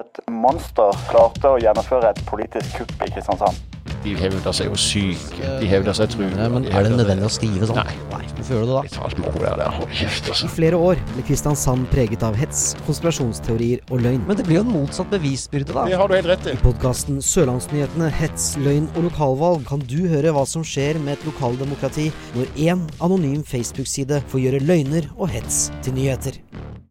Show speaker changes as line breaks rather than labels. et monster klarte å gjennomføre et politisk kupp i Kristiansand.
De hevder seg jo syke, de hevder seg truende.
Nei, men
de
er det
hevder
nødvendig å skrive sånn?
Nei.
Hvorfor gjør du det da?
Litt alt moro der, der. Hold kjeft, altså.
I flere år ble Kristiansand preget av hets, konspirasjonsteorier og løgn.
Men det blir jo en motsatt bevisbyrde, da.
Det har du helt rett i.
I podkasten Sørlandsnyhetene hets, løgn og lokalvalg kan du høre hva som skjer med et lokaldemokrati når én anonym Facebook-side får gjøre løgner og hets til nyheter.